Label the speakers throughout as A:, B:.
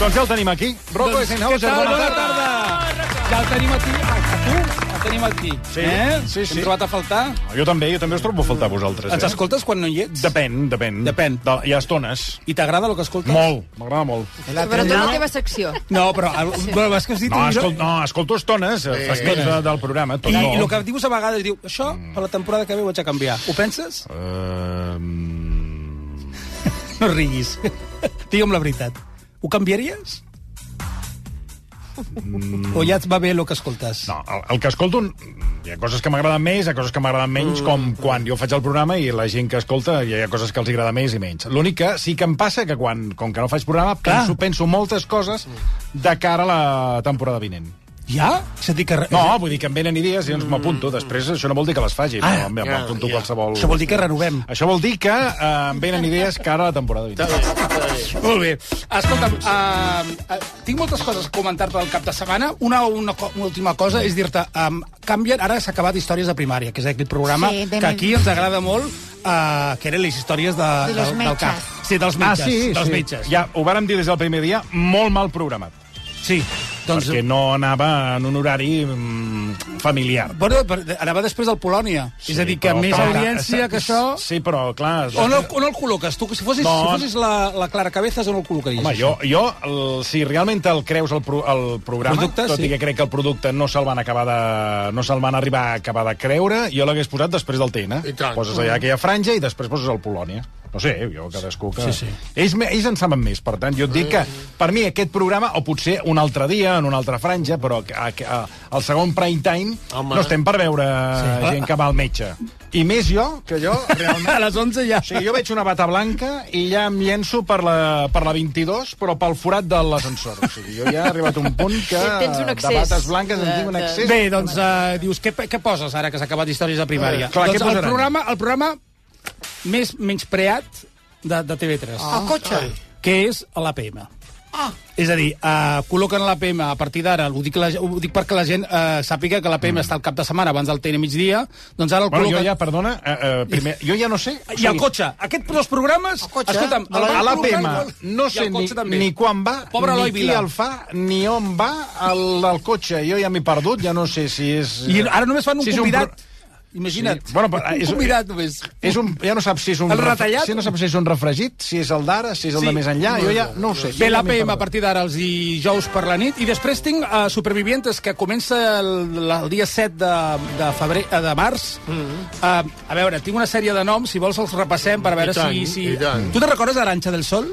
A: Doncs ja el tenim aquí. Rocco
B: Doncs,
A: Eisenhower,
B: què tal?
A: bona
B: Bona
A: tarda.
B: tarda. Ja el tenim aquí, a, a tu, el tenim aquí.
A: Sí,
B: eh?
A: sí, sí.
B: Hem trobat a faltar.
A: Jo també, jo també us trobo a faltar a vosaltres.
B: Ens
A: Eh?
B: escoltes quan no hi ets?
A: Depèn, depèn.
B: Depèn.
A: De, hi ha estones.
B: I t'agrada el que escoltes?
A: Molt, m'agrada molt.
C: Sobretot la teva secció.
B: No, però el, bueno, és que has dit...
A: No, escol, no escolto estones, eh, fragments de, del programa. Tot
B: I,
A: no. Mm.
B: I el que dius a vegades, diu, això per la temporada que ve ho vaig a canviar. Ho penses?
A: Eh,
B: No riguis. Digue'm la veritat. Ho canviaries? O ja et va bé el que escoltes?
A: Mm. No, el, el que escolto... Hi ha coses que m'agraden més, hi ha coses que m'agraden menys, mm. com quan jo faig el programa i la gent que escolta hi ha coses que els agrada més i menys. L'únic que sí que em passa que quan, com que no faig programa,
B: Clar.
A: penso, penso moltes coses de cara a la temporada vinent.
B: Ja? És a dir que...
A: No, vull dir que em venen idees i doncs m'apunto. Després això no vol dir que les faci,
B: Mm. Ah,
A: però em- m'apunto
D: ja.
A: qualsevol...
B: Això vol dir que renovem.
A: Això vol dir que eh, em venen idees cara a la temporada vinent.
B: Molt bé. Escolta'm, uh, uh, tinc moltes coses a comentar-te del cap de setmana. Una, una, co- una última cosa és dir-te, um, canvien, ara s'ha acabat Històries de Primària, que és aquest programa
C: Sí, de
B: que
C: mi-
B: aquí ens agrada molt, uh, que eren les històries de,
C: De los
B: del, del
C: metges.
B: cap. Ah, Sí, dels metges. dels metges.
A: Ah, Ja, ho vàrem dir des del primer dia, molt mal programat.
B: Sí, doncs...
A: perquè no anava en un horari mm, familiar.
B: Bueno, per, anava després al Polònia. Sí, és a dir, que
A: però,
B: més
A: clar,
B: audiència que això... Doncs-
A: Sí, però, clar...
B: On el, on el col·loques? Tu, si fossis,
A: No.
B: si fossis la, la Clara Cabezas, on el col·locaries?
A: Home, jo, jo el, si realment el creus el, pro, el programa,
B: Producte,
A: tot
B: sí.
A: i que crec que el producte no se'l van, acabar de, no se'l van arribar a acabar de creure, jo l'hagués posat després del TN.
D: I tant.
A: Poses allà aquella franja i després poses el Polònia. No sé, jo cadascú que...
B: Sí, sí.
A: Ells, me- ells en saben més, per tant, jo et dic que per mi aquest programa, o potser un altre dia, en una altra franja, però a, a, al segon prime time
D: Home.
A: no estem per veure sí. gent que va al metge. I més jo, que jo realment...
B: A les 11 ja.
A: O sigui, jo veig una bata blanca i ja em llenço per la, per la 22, però pel forat de l'ascensor. O sigui, jo ja he arribat a un punt que...
C: Tens un
A: De
C: excés.
A: bates blanques en
C: De-
A: tinc un
C: de-
A: excés.
B: Bé, doncs uh, dius, què, què poses ara que s'ha acabat Històries de Primària?
A: Eh, clar,
B: doncs
A: què
B: el
A: posaran?
B: programa, el programa més menyspreat de, de TV3,
A: Ah.
C: El cotxe.
B: que és l'APM. Ah. És a dir, uh, col·loquen l'APM a partir d'ara, ho, dic la, ho dic perquè la gent uh, sàpiga que l'APM mm. està al cap de setmana abans del TN migdia, doncs ara el
A: Bueno, jo
B: col·loquen...
A: ja, perdona, eh, eh, primer, jo ja no sé... o
B: Ah, I el
A: sigui,
B: cotxe. Aquests dos programes...
D: cotxe,
B: escolta'm,
D: a la-
B: van
A: A l'APM
B: col·locant-
A: no
B: I
A: sé
B: el
A: ni,
B: cotxe també.
A: ni quan va,
B: Pobre
A: ni
B: Eloi
A: qui
B: Vila.
A: el fa, ni on va el, el cotxe. Jo ja m'he perdut, ja no sé si és...
B: I ara només fan
A: si
B: un
A: és
B: convidat.
A: pro-
B: Imagina't.
A: Sí. Bueno, però, eh,
B: un
A: és-
B: convidat només.
A: És un, ja no saps si és un,
B: El
A: ref-
B: retallat?
A: si no saps si és un refregit, si és el d'ara, si és el
B: Sí.
A: de més enllà, jo ja no ho sé. jo
B: Bé,
A: ja m'he
B: l'APM a
A: perdut.
B: partir d'ara els dijous per la nit i després tinc uh, Supervivientes que comença el, la- el dia 7 de, de, febrer, eh, de març
A: Mm-hmm.
B: uh, a veure, tinc una sèrie de noms si vols els repassem per veure
D: I tant,
B: si... si...
D: i tant.
B: Tu te recordes Aranxa del Sol?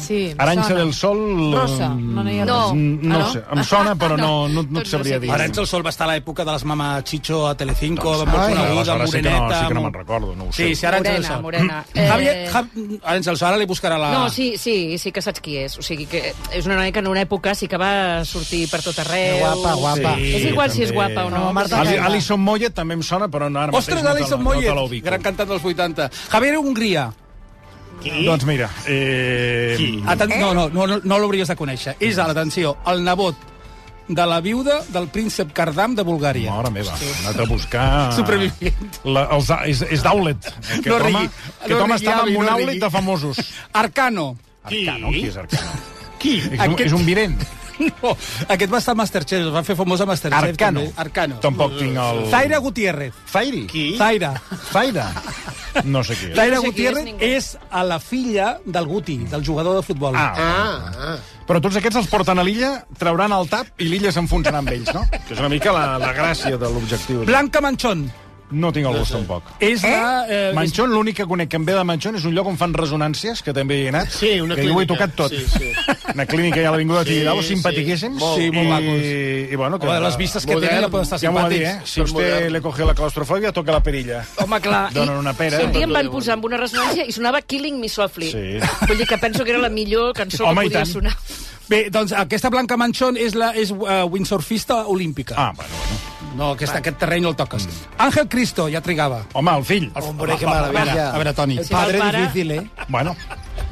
C: Sí, em
A: Mm. Aranxa
C: sona.
A: del Sol... um,
C: Rosa, no n'hi ha res.
A: no, no,
C: Ah,
A: no
C: no?
A: sé, em sona, però no, no, no
C: Doncs
A: et
C: no
A: sabria
C: sé
A: dir.
C: què
B: Aranxa del Sol va estar a l'època de les Mama Chicho a Telecinco,
A: Doncs,
B: doncs, molt
A: ai,
B: coneguda,
A: aleshores sí que no-
B: moreneta...
A: sí que no
B: molt-
A: me'n recordo, no ho sé.
B: sí, sí, Aranxa del
C: Morena,
B: Sol.
C: morena.
B: Mm.
C: Eh,
B: Javier, Jav... Aranxa del Sol, ara li buscarà la...
E: No, sí, sí, sí que saps qui és. O sigui, que és una noia que en una època sí que va sortir per tot arreu.
C: Guapa, guapa.
A: Sí,
E: És igual si és guapa o no.
C: No, Marta,
A: Ali,
C: Caixa.
A: Alison Moyet també em sona, però no, ara mateix
B: Ostres,
A: no te la-
B: Alison
A: No
B: Moyet,
A: te l'ubico.
B: gran cantant dels 80. Javier Hungria.
A: Doncs mira... Eh...
B: Mm-hmm. Aten... No, no, no, no, no l'hauries de conèixer. És, a l'atenció, el nebot de la viuda del príncep Cardam de Bulgària.
A: Mare meva, he anat a buscar...
B: Supervivient.
A: La, els, és, és d'Aulet. eh, Aquest
B: No
A: home,
B: rigui,
A: Aquest
B: no
A: home
B: rigui,
A: estava
B: avi,
A: en un
B: no
A: Aulet
B: rigui.
A: de famosos.
B: Arcano.
A: Arcano, qui és Arcano?
B: Qui?
A: És, un,
B: Aquest...
A: és un virent.
B: No, aquest va estar a Masterchef, es va fer famós a Masterchef.
A: Arcano.
B: També. Arcano.
A: Tampoc tinc el...
B: Zaira Gutiérrez.
A: Zairi?
B: Zaira.
A: Zaira. No sé qui és.
B: Zaira
E: sé qui és
B: Gutiérrez
E: ningú.
B: és, a la filla del Guti, del jugador de futbol.
A: Ah,
D: Ah, ah.
A: Però tots aquests els porten a l'illa, trauran el tap i l'illa s'enfonsarà amb ells, no? Que és una mica la, la gràcia de l'objectiu.
B: Blanca Manchón.
A: No tinc el gust, tampoc.
B: És eh? la... Eh, és-
A: Manchón, l'únic que conec que em ve de Manchón és un lloc on fan resonàncies, que també hi he anat.
D: Sí, una
A: que jo ho he
D: clínica.
A: tocat tot.
D: Sí, sí.
A: Una clínica i a l'Avinguda de
D: Sí,
A: Tibidabo,
D: sí.
A: simpatiquíssims.
D: Molt.
B: Sí, molt macos.
A: I, i bueno, que...
B: Home, les vistes que
D: Modern.
B: tenen no poden estar
A: Ja m'ho va dir, eh?
B: simpàtics.
A: Si usted
D: Modern.
A: le coge la claustrofòbia, toca la perilla.
E: Home, clar. i
A: Donen una pera.
E: Un dia em van posar amb una resonància i sonava Killing Me Softly.
A: Sí.
E: Vull dir que penso que era la millor cançó
A: Home, i
E: que podia
A: tant.
E: sonar.
B: Bé, doncs aquesta Blanca Manchón és, la, és uh, windsurfista olímpica.
A: Ah, bueno, bueno.
B: No, aquest, aquest terreny no el toques. Mm. Àngel Cristo, ja trigava.
A: Home, el fill.
C: Hombre, qué
B: A veure,
C: maravilla.
B: a veure, Toni.
C: El
E: va el
C: padre
E: pare-
C: difícil, eh?
A: Bueno,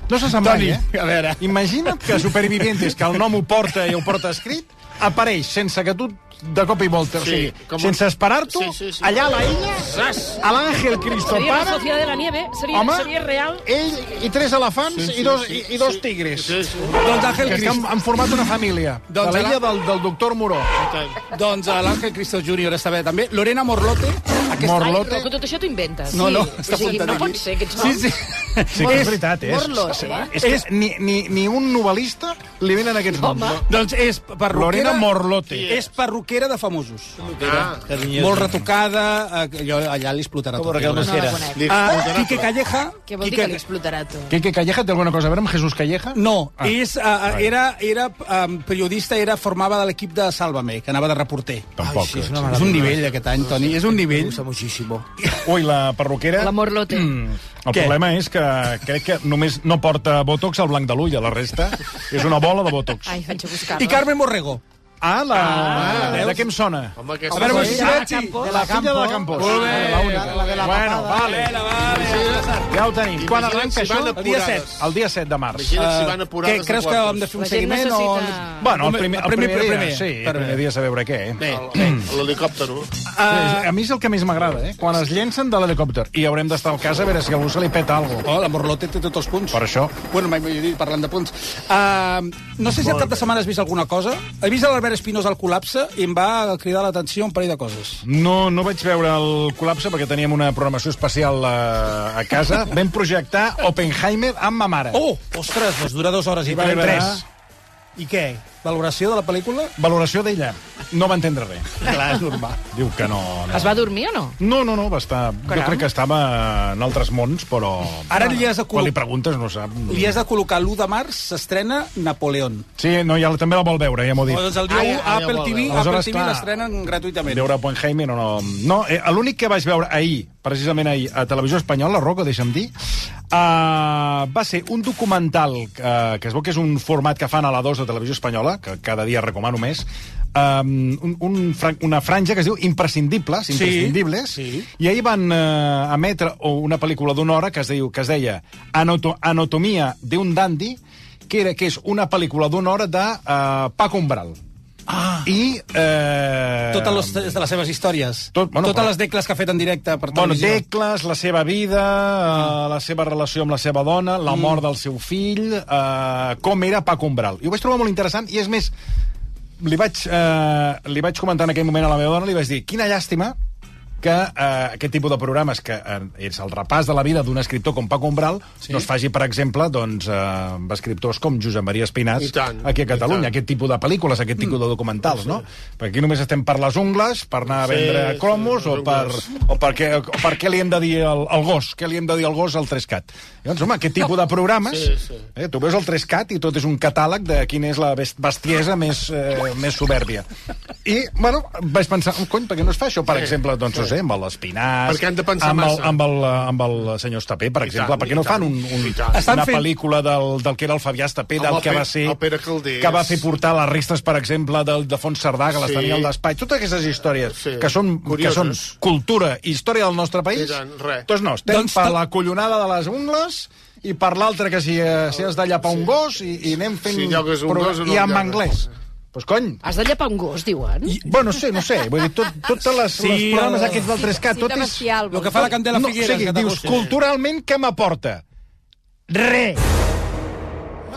A: no se sap mai,
B: Toni,
A: eh?
B: a veure.
A: Imagina't que Supervivientes, que el nom ho porta i ho porta escrit, apareix sense que tu de cop i volta,
D: Sí,
A: o sigui,
D: com un-
A: sense esperar-t'ho,
D: Sí, sí, sí.
A: allà a la illa, a l'Àngel Cristo
E: Seria la
A: Pare,
E: Sociedad de la Nieve, seria,
A: home,
E: seria real.
A: ell i tres elefants i dos, i, i dos tigres.
D: Sí, sí.
B: Doncs Àngel
A: Que és que han,
B: Crist...
A: han format una família.
B: Doncs
A: de l'illa
B: ara-
A: del, del doctor Moró.
B: Doncs a l'Àngel Cristo Júnior està bé, també. Lorena Morlote. Aquesta...
E: Ai,
A: Morlote.
E: però que tot això t'ho inventes.
B: No, no,
E: Sí,
B: està
E: o sigui,
B: apuntat
E: no
B: aquí.
E: pot ser que ets
B: Sí, sí.
A: Sí, que és veritat, és.
C: Morlos, eh?
A: És que ni, ni, ni un novel·lista li venen aquests noms. no?
B: Doncs és perruquera...
A: Lorena Morlote.
B: És perruquera de famosos.
D: Ah,
F: Carinyes.
B: Molt retocada, eh, allò, allà li explotarà
F: Com
B: tot.
F: Raquel
C: No la
F: Masera.
C: conec.
D: li
B: Uh, Quique Calleja...
C: Què vol dir
B: Quique-
C: que l'explotarà tot?
A: Quique Calleja té alguna cosa a veure amb Jesús Calleja?
B: No,
A: Ah.
B: ah, és, uh, era, era um, periodista, era formava de l'equip de Sálvame, que anava de reporter.
A: Tampoc.
F: sí, és una
B: És un nivell aquest any, Toni, és un
F: Me
B: nivell.
F: gusta muchísimo.
A: Ui, la perruquera...
E: La Morlote.
A: Mm, el
B: Què?
A: problema és que crec que només no porta botox al blanc de l'ull, a la resta és una bola de botox.
C: Ai, vaig a buscar-la.
B: I Carmen Borrego.
A: Ah, la... Ah, de què em sona?
D: Home,
B: A
D: aquesta...
B: veure,
D: Home,
B: veus si
A: la
B: veig...
A: De la filla de la Campos.
B: Molt bé.
A: La única.
B: La- la de la
A: bueno, vale. Ja ho tenim. Quan
D: Imagina't
A: arrenca
D: si
A: això?
D: van
A: El dia
D: apurades.
A: 7. El dia 7 de març.
D: Imagina't si van
B: Uh,
D: apurades
B: què,
D: de
B: creus que
D: quartos.
B: hem de fer un
E: La gent
B: seguiment? O...
E: necessita-
A: Bueno, el primer, el primer,
B: primer,
A: dia, sí, el
B: primer.
A: primer dia saber veure què. Eh?
B: Bé,
D: L'helicòptero.
A: Ah, a mi és el que més m'agrada, eh? Quan es llencen de l'helicòpter. I haurem d'estar al cas a veure si a algú se li peta alguna cosa.
B: oh, la Morlote té tots els punts.
A: Per això.
B: Bueno, mai m'ho he dit, parlant de punts. Uh, no sé si al cap de setmana has vist alguna cosa. He vist l'Albert Espinosa al col·lapse i em va cridar l'atenció un parell de coses.
A: No, no vaig veure el col·lapse perquè teníem una programació especial a, a casa. Vam projectar Oppenheimer amb ma mare.
B: Oh, ostres, doncs dura dues hores i
A: va haver
B: va haver-
A: tres.
B: I què? Valoració de la pel·lícula?
A: Valoració d'ella. No va entendre res.
B: Clar, és normal.
A: Diu que no. no.
E: Es va dormir o no?
A: No, no, no, va estar...
E: Caram.
A: Jo crec que estava en altres mons, però...
B: Ara li has de
A: Quan li
B: col·locar...
A: preguntes no sap.
B: Ah, Li has de col·locar l'1 de març, s'estrena Napoleón.
A: Sí, no, ja també la vol veure, ja m'ho
B: O,
A: dit.
B: Doncs el dia
D: Ah,
B: 1,
D: ja, ja
B: Apple
D: vol
B: TV,
D: veure.
B: Apple
A: Aleshores,
B: TV
A: clar,
B: l'estrenen gratuïtament.
A: Veure Oppenheimer o no... No, eh, l'únic que vaig veure ahir, precisament ahir, a Televisió Espanyola, Rocco, deixa'm dir, uh, va ser un documental uh, que es veu que és un format que fan a la 2 de Televisió Espanyola, que cada dia recomano més, um, un, un fran una franja que es diu Imprescindibles,
B: Sí,
A: imprescindibles
B: sí.
A: i ahir van uh, emetre una pel·lícula d'una hora que es, diu, que es deia Anoto Anatomia d'un dandi, que, era, que és una pel·lícula d'una hora de uh, Paco Umbral. Ah. I... Uh,
B: Totes les, de les seves històries.
A: Tot- bueno,
B: Totes
A: però-
B: les decles que ha fet en directe per
A: Bueno,
B: televisió.
A: tecles, la seva vida, eh, la seva relació amb la seva dona, la
D: Mm.
A: mort del seu fill, eh, com era Paco Umbral. I ho vaig trobar molt interessant, i és més, li vaig, eh, li vaig comentar en aquell moment a la meva dona, li vaig dir, quina llàstima que eh, aquest tipus de programes, que eh, és el repàs de la vida d'un escriptor com Paco Umbral, sí. no es faci, per exemple, doncs, eh, amb escriptors com Josep Maria Espinàs
D: I tant,
A: aquí
D: i
A: a Catalunya,
D: tant. Mm.
A: aquest tipus de pel·lícules, aquest tipus de documentals, no? Perquè aquí només estem per les ungles, per anar a
D: Sí,
A: vendre
D: sí,
A: cromos
D: les
A: o per,
D: ungles.
A: o per, què, o per què li hem de dir al, al gos? Què li hem de dir al gos al 3CAT? Llavors, home, aquest tipus de programes...
D: Sí, sí.
A: Eh, tu veus el 3CAT i tot és un catàleg de quina és la best- bestiesa més, eh, més soberbia. I, bueno, vaig pensar, oh, cony, per què no es fa això? Per sí, exemple, doncs, sí. no sé, amb l'Espinàs...
D: Perquè han de pensar
A: amb el,
D: massa.
A: amb, el, amb el senyor Estapé, per
D: I
A: exemple.
D: tant,
A: per
D: i
A: què no fan
D: tant,
A: un, un,
D: i tant.
B: Estan
A: una
B: fent-
A: pel·lícula del, del que era el Fabià Estapé,
D: Amb
A: del
D: el
A: que va
D: Pe-
A: ser...
D: el Pere Calders.
A: Que va fer portar les restes, per exemple, del Defons Cerdà, que les
D: Sí.
A: tenia al despatx. Totes aquestes històries
D: Sí.
A: que són, que
D: Curioses.
A: són cultura i història del nostre país,
D: I tant, res.
A: doncs no, estem
B: Doncs
A: per
B: to-
A: la collonada de les ungles i per l'altre que si, eh, si has de llapar un gos i, i anem fent...
D: Si llogues un
A: pro-
D: gos o no
A: I amb
D: llogues.
A: anglès. Pues cony,
E: Has de llepar un gos, diuen.
A: I, bueno, sí, no sé, vull dir, tot, totes les,
B: Sí,
A: sí, les programes
B: el-
A: aquests del 3K, tot és...
B: El que fa la Candela
A: No, o
B: Figueres.
A: sigui,
B: que
A: dius,
B: t'agusta.
A: culturalment, què m'aporta? Re!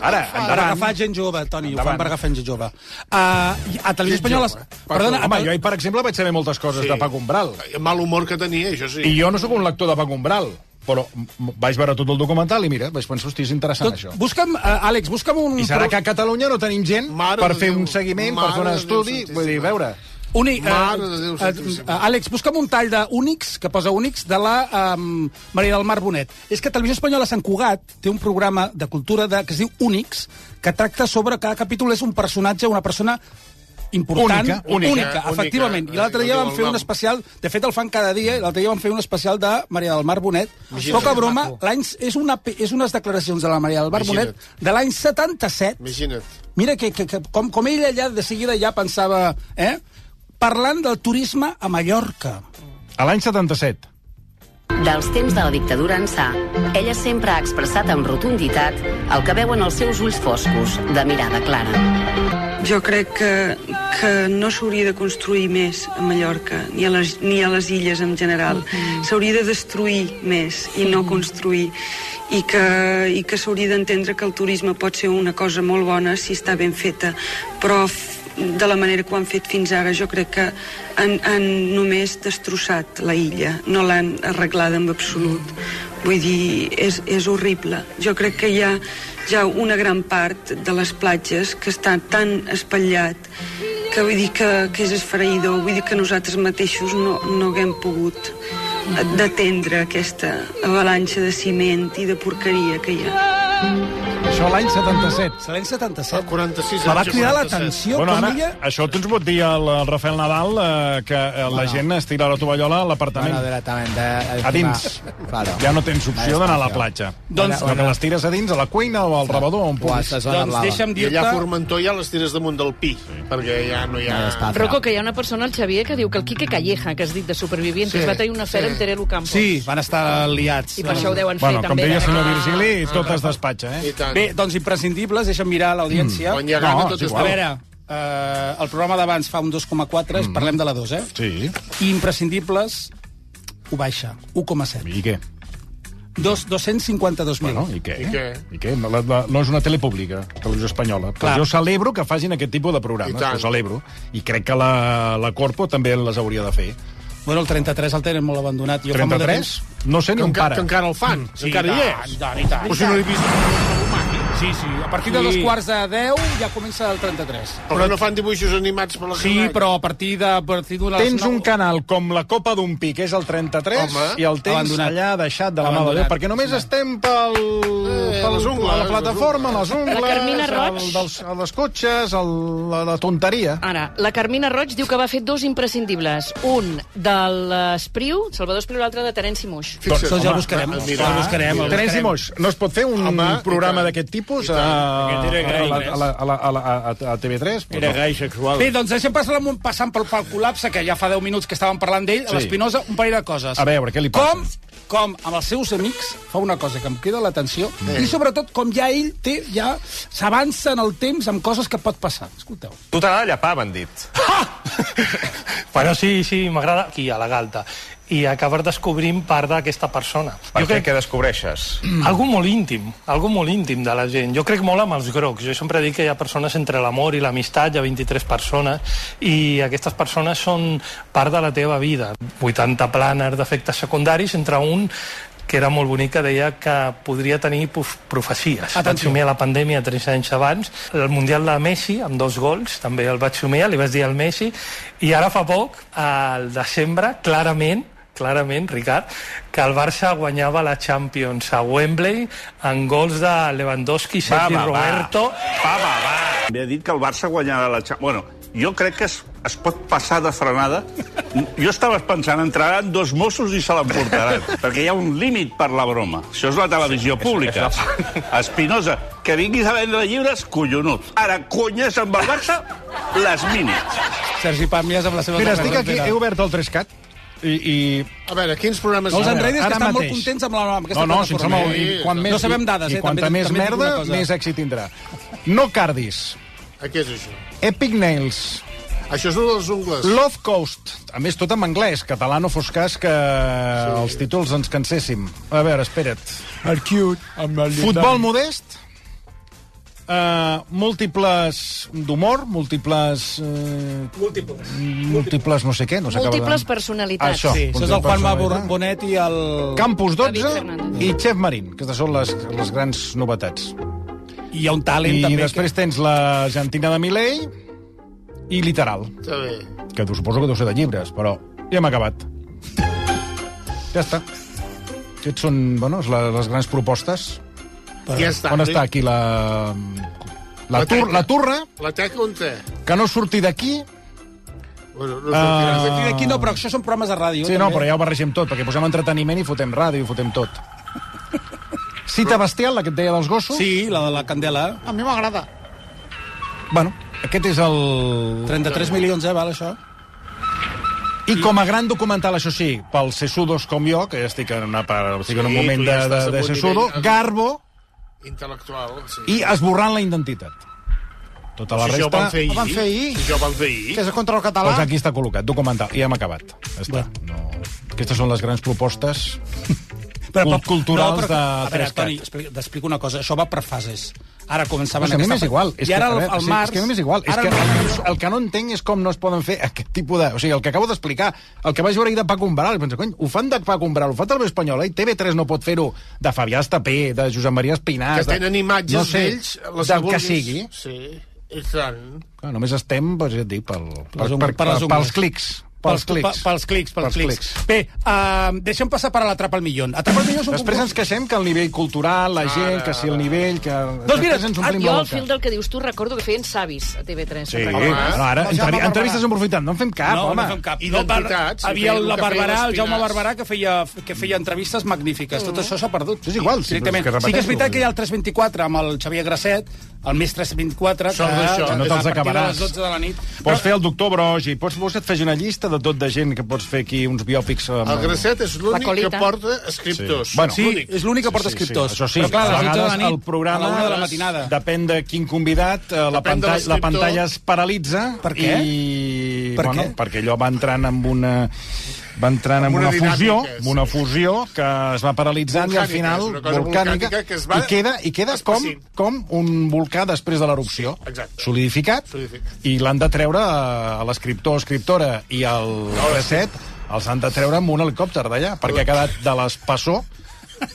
A: Ara,
B: Per
A: endavant.
B: agafar gent jove, Toni, ho fan
A: Endavant.
B: per agafar gent jove. Uh, a Televisió Espanyola... Perdona, eh,
A: Home, jo
B: a,
A: ahir, per exemple, vaig saber moltes coses
D: eh, Sí.
A: de Paco Umbral.
D: El mal humor que tenia, això sí.
A: I jo no sóc un lector de Paco Umbral, però m- vaig veure tot el documental i mira, vaig pensar, hosti, és interessant
B: tot,
A: això.
B: busca'm, uh, Àlex, busca'm un...
A: I serà que a Catalunya no tenim gent
D: Mare
A: per
D: de
A: fer
D: Déu.
A: un seguiment, per
D: Mare
A: fer un
D: de Déu
A: estudi,
D: Santíssima.
A: vull dir, a veure...
B: Uni,
D: Mare de Déu
B: eh,
D: Santíssima.
B: eh, Àlex, busca'm un tall d'Unix, que posa Unix, de la um, Maria del Mar Bonet. És que Televisió Espanyola a Sant Cugat té un programa de cultura de, que es diu Unix, que tracta sobre cada capítol és un personatge, una persona important,
A: Única, única,
B: única,
D: única.
B: efectivament. I l'altre
D: Eh,
B: dia
D: no diu
B: van
D: el
B: fer un
D: nom.
B: especial, de fet el fan cada dia, i l'altre dia van fer un especial de Maria del Mar Bonet.
D: Imagina't.
B: Poca broma, l'any és, una, pe- és unes declaracions de la Maria del Mar Bonet
D: Imagina't.
B: de l'any 77,
D: Imagina't.
B: Mira, que, que, que com, com ella ja de seguida ja pensava... Eh? Parlant del turisme a Mallorca.
A: A l'any 77.
G: Dels temps de la dictadura ençà, ella sempre ha expressat amb rotunditat el que veuen els seus ulls foscos, de mirada clara.
F: Jo crec que, que no s'hauria de construir més a Mallorca, ni a les, ni a les illes en general. S'hauria de destruir més i no construir. I que, i que s'hauria d'entendre que el turisme pot ser una cosa molt bona si està ben feta, però f- de la manera que ho han fet fins ara, jo crec que han, han només destrossat la illa, no l'han arreglada en absolut. Vull dir, és, és horrible. Jo crec que hi ha ja una gran part de les platges que està tan espatllat que vull dir que, que és esfereïdor, vull dir que nosaltres mateixos no, no haguem pogut eh, detendre aquesta avalanxa de ciment i de porqueria que hi ha.
B: Això l'any 77. L'any 77.
D: El 46,
B: Me va
D: el
B: cridar
D: 47.
B: l'atenció
A: Bueno,
B: com
A: ara, Ah,
B: ella...
A: això tu ens pot dir al al Rafael Nadal eh, que eh, la gent estira la tovallola a
H: Bueno,
A: l'apartament.
H: directament. De,
A: A dins.
H: Claro.
A: Ja no tens opció d'anar a la
H: Una
A: platja.
B: Doncs-
A: Sinó que les tires a dins, a la cuina o al rebedor, on
H: O a
A: puguis.
H: esta zona
B: Doncs
H: blava.
B: deixa'm
D: I allà a
B: dir-te...
D: Formentor ja les tires damunt del pi, perquè ja no hi ha...
H: Ja està.
E: Rocco, que hi ha una persona, el Xavier, que diu que el Quique Calleja, que has dit de Supervivients,
D: Sí,
E: sí, es va tenir una fer sí. amb Terelu Campos.
B: Sí, van estar liats.
E: I per això ho deuen fer
A: Bueno, com
E: també.
A: deia el
E: eh?
A: senyor Virgili, tot es despatxa,
D: I
A: eh?
D: tant.
B: Bé, doncs imprescindibles, deixa'm mirar l'audiència.
D: Mm, quan hi ha gana, tot
B: és
D: és
B: igual. A
D: bo.
B: veure, eh, el programa d'abans fa un 2,4, mm. parlem de la 2, eh?
A: Sí.
B: I imprescindibles ho baixa, 1,7.
A: I què?
B: Dos- 252.000.
A: Bueno, i què?
D: I què?
A: I què? No, la, la, no és una tele pública, televisió espanyola. Però
B: Clar.
A: jo celebro que facin aquest tipus de
D: I
A: programes,
D: tant.
A: ho celebro. I crec que la, la Corpo també les hauria de fer.
B: Bueno, el 33 el tenen molt abandonat. Jo fa molt de
A: 33?
B: temps-
A: No sé
D: Que,
A: ni on
D: enca,
A: para.
D: que encara el fan, sí, encara hi és.
B: I tant, i tant.
D: O si no l'he vist.
B: Sí, sí, a partir de
D: Sí.
B: dos quarts de 10 ja comença el 33.
D: Però no fan dibuixos animats per la
B: Sí,
D: canalla.
B: però a partir de... A partir d'una-
A: Tens un canal com la Copa d'un Pic, és el 33, Home,
D: Home.
A: i el tens
B: Abandonat.
A: allà deixat de la mà de Déu,
B: Abandonat.
A: perquè només estem pel,
D: Eh,
A: pel
D: les ungles,
A: a la plataforma, les ungles,
E: La Carmina Roig.
A: el, dels, el dels cotxes, el, la, la tonteria.
E: Ara, la Carmina Roig diu que va fer dos imprescindibles. Un de l'Espriu, Salvador Espriu, l'altre de Terence Moix.
D: Fixa't,
B: Doncs ja el
D: home,
B: buscarem.
D: el
B: Ah,
D: mirarem.
B: el buscarem, el
A: Terence Moix, no es pot fer un
D: Home,
A: programa
D: i tant.
A: d'aquest tipus
D: I
A: a,
D: tant.
A: a,
I: Aquest era
A: la-
I: gai,
A: a, la- a, la- a, la- a, a TV3? Pues
I: Era
A: no.
I: gai sexual.
B: Bé, doncs deixem passar amunt, passant pel, pel col·lapse, que ja fa 10 minuts que estàvem parlant d'ell,
A: Sí.
B: a l'Espinosa, un parell de coses.
A: A veure, què li passa?
B: Com, com amb els seus amics fa una cosa que em crida l'atenció, i sobretot com ja ell té, ja s'avança en el temps amb coses que pot passar. Escolteu.
J: Tu t'agrada llapar, bandit.
K: Bueno, sí, sí, m'agrada aquí, a la galta. I acabar descobrint part d'aquesta persona.
J: Per què? Què descobreixes?
K: Algo molt íntim, algo molt íntim de la gent. Jo crec molt amb els grocs. Jo sempre dic que hi ha persones entre l'amor i l'amistat, hi ha 23 persones, i aquestes persones són part de la teva vida. 80 plàners d'efectes secundaris entre un que era molt bonic, que deia que podria tenir puf, profecies. Vaig
B: Atenció.
K: somiar la pandèmia tres anys abans, el Mundial de Messi, amb dos gols, també el vaig somiar, li vaig dir al Messi, i ara fa poc, al desembre, clarament, clarament, Ricard, que el Barça guanyava la Champions a Wembley en gols de Lewandowski, Sergi
I: va, va.
K: Roberto...
I: Va, va, va. M'he dit que el Barça guanyarà la Champions. Bueno, jo crec que es, es pot passar de frenada. Jo estava pensant, entraran dos Mossos i se l'emportaran, perquè hi ha un límit per la broma. Això és la televisió pública. Espinosa, que vinguis a vendre llibres, collonut. Ara, conyes amb el Barça, les mines.
B: Sergi Pàmies amb la seva...
A: doncs Mira, estic aquí, he obert el 3CAT i, i
D: A veure, quins programes...
B: No els
D: hi ha?
B: enredis, que
A: Ara
B: estan
A: mateix.
B: molt contents amb, la,
A: No,
B: amb aquesta
A: no, si ens
B: plataforma.
A: sembla, i quan més,
B: no sabem dades,
A: i,
B: eh?
A: i quanta
B: també,
A: més
B: també dic una
A: merda,
B: cosa.
A: més èxit tindrà. No Cardis,
D: A què és això?
A: Epic Nails,
D: Això és un dels ungles.
A: Love Coast, a més tot en anglès, català no fos cas que sí. els títols ens canséssim. A veure, espera't.
H: El cute. Amb el
A: Futbol modest, Uh, múltiples d'humor, múltiples... Uh, múltiples. Múltiples no sé què, no s'acaba de-
E: Múltiples personalitats.
A: Això,
H: Doncs
B: Sí, això és el
A: múltiples
B: Juanma
H: eh?
A: personalitats.
B: Bonet i el...
A: Campus
E: David
A: 12
E: Fernández.
A: i Chef Marín, que aquestes són les, les grans novetats.
B: I hi ha un talent,
A: I
B: també.
A: després tens l'Argentina de Milei i Literal,
D: Està bé.
A: que tu suposo que deu ser de llibres, però ja hem acabat. Ja està. Aquests són, bueno, les, les grans propostes.
D: Ja està.
A: On està aquí la... La,
D: La
A: tur,
D: teca.
A: la turra,
D: La teca on té?
A: que no surti d'aquí.
D: Bueno, no
A: Ah.
D: sortiràs
B: Que...
D: d'aquí.
B: Aquí no, però això són programes de ràdio.
A: Sí, no,
B: també.
A: però ja ho barregem tot, perquè posem entreteniment i fotem ràdio, i fotem tot. Cita bestial, la que et deia dels gossos.
B: Sí, la de la Candela.
D: A mi m'agrada.
A: Bueno, aquest és el...
B: 33 milions, eh, val, això?
A: I com a gran documental, això sí, pels sesudos com jo, que ja estic en, una, par- estic en un
D: Sí,
A: moment
D: tu
A: de,
D: ja
A: de,
D: estàs
A: de
D: a bon
A: sesudo,
D: nivell.
A: Garbo
D: Intel·lectual, sí.
A: i Esborrant la identitat. Tota la
D: si Doncs això ho
A: resta...
D: van fer ahir.
A: Ho van fer ahir.
D: Si això ho van fer ahir.
A: Que és el control català. Doncs aquí està col·locat, documental. I hem acabat. Ja Està. No. Aquestes són les grans propostes cul- culturals
B: que- a
A: de
B: veure, Toni,
A: 3
B: expli- t'explico una cosa. Això va per fases. Ara
A: Però
B: començaven...
A: si a mi
B: aquesta
A: m'és
B: fa-
A: igual. És
B: I
A: que,
B: ara
A: a
B: al,
A: veure,
B: al
A: sí,
B: març...
A: És que a mi m'és igual. És
B: Ara
A: que
B: al març-
A: el, el que no entenc és com no es poden fer aquest tipus de... O sigui, el que acabo d'explicar, el que vaig veure ahir de Paco Umbral, i penso, cony, ho fan de Paco Umbral, ho fan del Espanyol, i TV3 no pot fer-ho de Fabià Estapé, de Josep Maria Espinàs...
D: Que
A: de-
D: tenen imatges
A: no sé,
D: d'ells, les
A: del que
D: vulguis.
A: sigui.
D: Sí, i tant.
A: Clar, només estem, doncs, ja et dic, pel, per, per,
B: ungles, per les
A: per,
B: ungles.
A: pels clics.
B: Pels, pels, pels clics, pels, pels clics. Bé, uh, deixem passar per a l'atrapa al millón. Atrapa al millón és un
A: Després ens queixem que el nivell cultural,
D: Ah,
A: la gent, que si el nivell... Que...
B: Doncs mira,
A: Després ens
E: Ah,
A: omplim
E: jo,
A: la
E: al fil
A: boca.
E: del que dius tu, recordo que feien savis a TV3.
A: Sí,
E: Recordo.
A: home, ara,
B: Jaume
A: entrevi
B: Barberà.
A: entrevistes en profitant, no en fem cap,
B: no,
A: home.
B: no fem cap.
D: Identitats,
B: No, havia
D: feien
B: el,
D: el
B: la
D: que feia
B: Barberà, el
D: l'Espinàs.
B: Jaume Barberà, que feia, que feia entrevistes magnífiques. Tot això s'ha perdut.
A: És igual, sí,
B: directament.
A: però és que
B: sí que és veritat
A: repeteixo.
B: que hi ha el 324 amb el Xavier Grasset, el més 324,
D: Sort d'això,
A: que no te'ls
B: a partir de
A: acabaràs.
B: les 12 de la nit...
A: Pots fer el doctor Brogi, pots, pots et fer una llista de tot de gent que pots fer aquí uns biòpics... Amb...
D: El Gracet és l'únic que
C: colita.
D: porta escriptors.
A: Sí. Bueno,
B: Sí, és l'únic que porta
A: Sí, sí,
B: escriptors.
A: Això sí,
B: Però clar, a les 12 de la
A: vegades
B: nit,
A: el programa
B: a la una de la matinada.
A: depèn de quin convidat, eh, la,
D: Depèn de
A: pantalla, la
D: l'escriptor.
A: pantalla es paralitza.
B: Per què?
A: I,
B: Per
A: bueno,
B: què?
A: Perquè allò va entrant amb una va entrant amb
D: Amb
A: una,
D: una
A: fusió,
D: dinàmica,
A: amb una fusió que es va paralitzant i al
D: Volcànica,
A: final
D: és una cosa volcànica que es va
A: i queda, i queda com,
D: espessint.
A: com un volcà després de l'erupció.
D: exacte.
A: Solidificat,
D: Solidificat.
A: i l'han de treure eh, a l'escriptor, escriptora i al reset, els han de treure amb un helicòpter d'allà, perquè ha quedat de l'espassó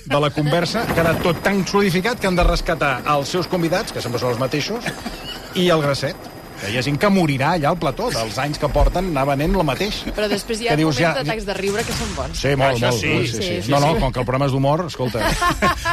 A: de la conversa, ha quedat tot tan solidificat que han de rescatar els seus convidats, que sempre són els mateixos, i el Grasset. Que hi ha gent que morirà allà al plató, dels anys que porten anar venent la mateix.
C: Però després hi ha
A: Que dius,
C: moments
A: ja-
C: d'atacs de riure que són bons.
A: Sí, molt,
D: Això
A: molt.
D: sí.
A: sí,
C: Sí, sí,
A: No, no,
C: sí.
A: com que el programa és d'humor, escolta...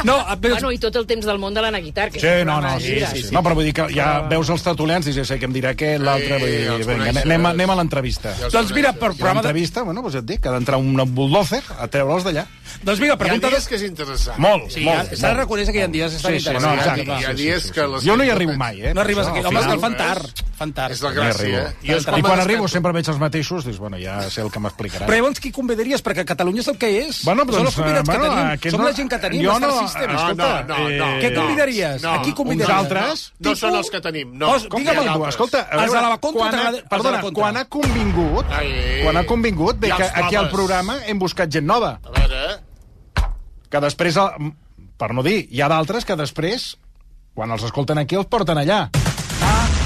B: No, a- però...
E: Bueno, i tot el temps del món de l'Anna Guitar. Que
A: Sí,
E: és un
A: no,
E: programa
A: no,
E: de
A: sí,
E: gira.
A: sí, sí. No, però vull dir que ja veus els tertulians, dius, ja sé que em dirà aquest, l'altre...
D: Sí,
A: vull dir,
D: els
A: vinga,
D: coneixes.
A: anem, a- anem a l'entrevista.
D: Ja els
B: Doncs mira,
D: coneixes.
B: per
A: I
B: programa de...
A: l'entrevista, bueno, doncs ja et dic, ha d'entrar un bulldozer a treure'ls d'allà.
B: Doncs vinga,
D: Hi ha
B: pregunta...
D: dies que és interessant.
A: Molt,
B: Sí,
A: molt.
B: s'ha de reconèixer que hi ha dies que estan
A: Sí, sí, no,
B: interessants.
A: exacte.
D: Hi ha- hi ha
A: Sí, sí,
D: dies
A: sí, sí.
D: que les-
A: Jo no hi arribo mai, eh?
B: No arribes aquí.
A: Al
B: Home, és
A: final-
B: que el fan tard. Fan tard.
D: És la
A: No hi
D: gràcia.
A: arribo.
D: eh? Jo és com
A: I
D: a
A: quan
D: les
A: arribo
D: que-
A: sempre veig els mateixos, dius, bueno, ja sé el que m'explicarà.
B: Però llavors qui convidaries? Perquè Catalunya és el que és.
A: Bueno, però
B: Són
A: doncs,
B: els convidats que
A: bueno,
B: tenim.
A: aquest
B: Som
A: no-
B: la gent que tenim.
A: jo
B: Star
A: no-
B: System,
A: no,
B: escolta.
A: no, eh, no,
D: no.
B: Què
D: No.
B: convidaries?
D: No.
B: A qui
A: Uns
B: convidaries?
A: altres...
D: No són els que tenim, no.
B: Os-
D: Com
B: digue'm
D: hi ha
B: algú,
A: Diu,
D: d'altres?
A: escolta, a
B: Els
A: veure,
B: de la contra
A: quan,
B: t'agrada- els de la
A: perdona,
B: contra.
A: quan ha convingut,
D: Ai, ai.
A: quan ha convingut, bé
D: Ja
A: que
D: els
A: aquí al
D: trobes.
A: programa hem buscat gent nova,
D: A veure,
A: que després, el- per no dir, hi ha d'altres que després, quan els escolten aquí, els porten allà.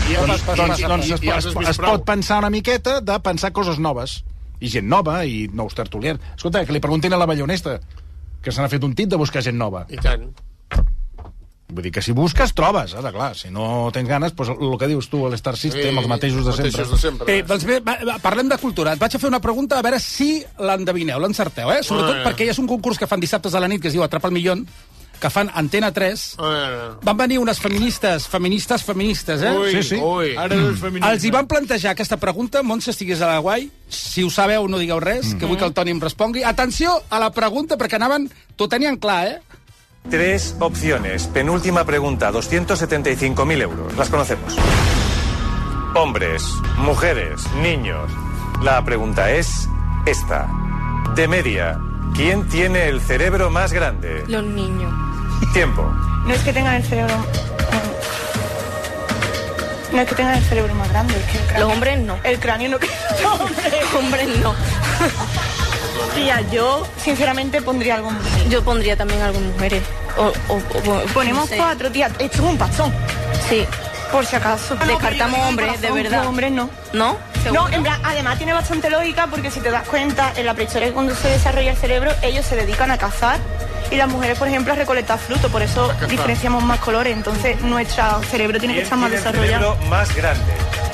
D: i ja
A: Doncs,
D: pas-
A: doncs,
D: i-
A: doncs
D: i-
A: es,
D: ja
A: es,
D: has vist
A: es
D: prou.
A: pot pensar una miqueta de pensar coses noves. I gent nova, i nous tertulians. Escolta, que li preguntin a la Ballonesta, que se n'ha fet un tit de buscar gent nova.
D: I tant.
A: Vull dir que si busques, trobes, ara, clar. Si no tens ganes, doncs el que dius tu, l'Star System, els mateixos de sempre.
D: Mateixos de sempre.
A: Eh,
B: Bé, doncs bé, va, va, parlem de cultura. Et vaig a fer una pregunta a veure si l'endevineu, l'encerteu, eh? Sobretot
D: Ah.
B: perquè hi ha un concurs que fan dissabtes a la nit que es diu Atrapa el Millón, que fan Antena 3.
D: A veure.
B: Van venir unes feministes, feministes, feministes, eh?
D: Eh, Ui,
A: Sí, sí.
D: ui. Ara és feminista.
B: Els hi van plantejar aquesta pregunta, Montse, estigués a la guai, si ho sabeu no digueu res,
A: Mm.
B: que vull que el Toni em respongui. Atenció a la pregunta, perquè anaven, t'ho tenien clar, eh?
J: Tres opciones. Penúltima pregunta, 275.000 euros. Las conocemos. Hombres, mujeres, niños. La pregunta es esta. De media, ¿quién tiene el cerebro más grande?
H: Los niños.
J: Tiempo.
H: No es que tengan el cerebro. No es que tengan el cerebro más grande, es que el cráneo.
E: Los hombres no.
H: El cráneo no. Los hombres no. Tía, yo sinceramente pondría algo mujer.
L: Yo pondría también algunas mujeres. O, o- o-
H: Ponemos
L: no sé.
H: cuatro, tía. Esto es un pasón,
L: Sí.
H: por si acaso.
L: Descartamos hombres, de verdad.
H: Los hombres no.
L: ¿No?
H: No, en plan, además tiene bastante lógica porque si te das cuenta, en la prehistoria cuando se desarrolla el cerebro, ellos se dedican a cazar y las mujeres, por ejemplo, a recolectar fruto, por eso diferenciamos más colores, entonces nuestro cerebro tiene que
J: ¿Quién
H: estar más
J: tiene el cerebro
H: desarrollado.
J: más grande?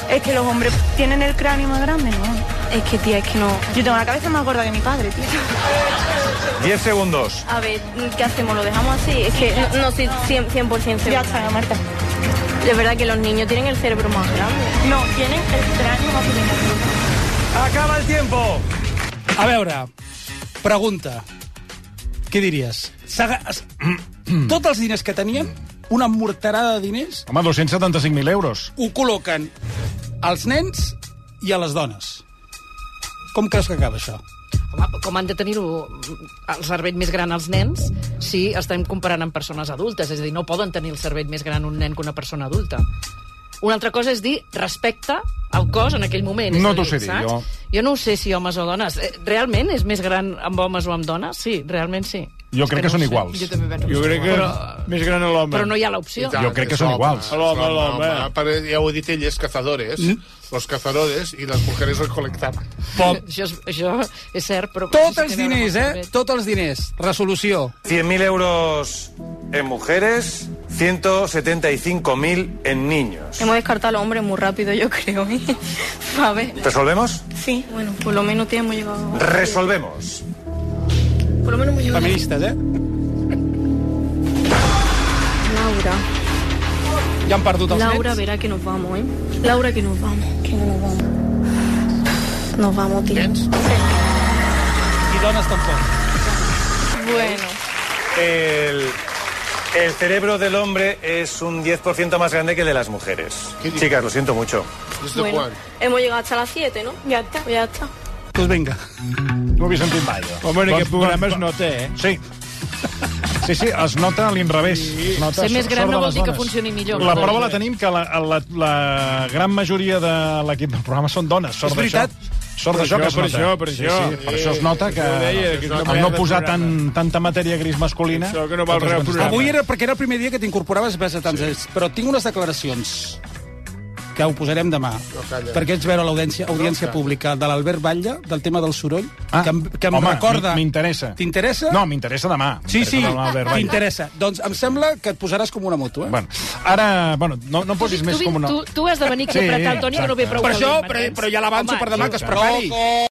H: Es que los hombres tienen el cráneo más grande, ¿no?
L: Es que, tía, es que no.
H: Yo tengo la cabeza más gorda que mi padre, tío.
J: Diez segundos.
L: A ver, ¿qué hacemos? ¿Lo dejamos así? Es que no, no soy 100%, 100%
H: Ya
L: segura.
H: está, Marta.
L: De verdad que los niños tienen el cerebro más grande.
H: No, tienen el cráneo más pequeño.
J: Acaba el tiempo.
B: A veure, pregunta. Què diries? S'aga- es- Tots els diners que tenien, una morterada de diners,
A: Home, 275.000 euros.
B: ho col·loquen als nens i a les dones. Com creus que acaba això?
E: Home, com han de tenir-ho el cervell més gran els nens si estem comparant amb persones adultes? És a dir, no poden tenir el cervell més gran un nen que una persona adulta. Una altra cosa és dir respecte al cos en aquell moment. és
A: No
E: a
A: t'ho
E: dir,
A: sé dir,
E: saps?
A: jo.
E: Jo no ho sé si homes o dones. Eh, Realment és més gran amb homes o amb dones? Sí, realment sí.
A: Jo crec que
E: no
A: són
E: ho sé.
A: iguals.
E: Jo també penso
A: Jo
E: són
A: crec que-
E: iguals.
D: Més gran a l'home.
E: Però no hi ha l'opció.
A: Jo crec que són iguals.
D: L'home, l'home.
A: Home, Mm.
D: per- Ja ho ha dit ell, és cazadores. Los cazadores i les mujeres recolectaven.
E: Això, és, això és cert, però...
B: Tots els diners, eh? Tots els diners. Resolució.
J: 100.000 euros en mujeres, 175.000 en niños.
L: Hemos descartado al hombre muy rápido, yo creo. ¿eh? A ver.
J: ¿Resolvemos?
L: Sí, bueno, por lo menos te hemos llegado.
J: Resolvemos.
L: Por lo menos hemos llegado.
B: Feministes, eh?
L: Laura.
B: Ja han perdut els
L: Laura
B: nets.
L: verá que nos vamos, ¿eh? Laura, que nos vamos. Que nos vamos. Nos vamos, tío.
B: I dones tampoc.
L: Bueno.
J: El, el cerebro del hombre es un 10% más grande que el de las mujeres. Chicas, lo siento mucho.
L: bueno. Hemos llegado hasta las 7, ¿no? Ya está. ya está.
B: Doncs vinga.
A: No ho havia sentit mai. jo. Doncs,
B: Home, en aquest programa
A: es nota, eh? Sí. Sí, sí, es nota a l'inrevés. Es nota,
E: Ser
A: so-
E: més gran
A: sort de
E: no vol
A: les
E: dir que
A: dones.
E: funcioni millor.
A: La prova la tenim que la, la, la gran majoria de l'equip del programa són dones. Sort
D: És veritat.
A: Això. Sort
D: Per
A: d'això que
D: això,
A: es
D: per
A: nota.
D: això, per això. Eh,
A: Sí, sí, per això es nota que,
D: Jo deia que és una
A: al no
D: merda
A: posar
D: de
A: tan, tanta matèria gris masculina...
D: Això que no val
A: tot es
D: res,
A: contesta.
D: programa.
B: Avui era perquè era el primer dia que t'incorporaves ves a tants anys, però tinc unes declaracions que ho posarem demà.
D: No, calla.
B: Perquè ets veure l'audiència audiència
D: No, calla.
B: pública de l'Albert Batlle, del tema del soroll,
A: Ah,
B: que em, que em
A: home,
B: recorda...
A: m- m'interessa.
B: T'interessa?
A: No, m'interessa demà.
B: Sí, sí,
A: M'interessa demà l'Albert Batlle.
B: t'interessa. Doncs em sembla que et posaràs com una moto, eh?
A: Bueno, ara, bueno, no, no em posis més
E: Tu,
A: com una...
E: tu, tu has de venir aquí a apretar el Toni, que no ve prou
B: Per això,
E: calent,
B: però,
E: m'entens?
B: però ja l'avanço
E: Home,
B: per demà, que es prepari.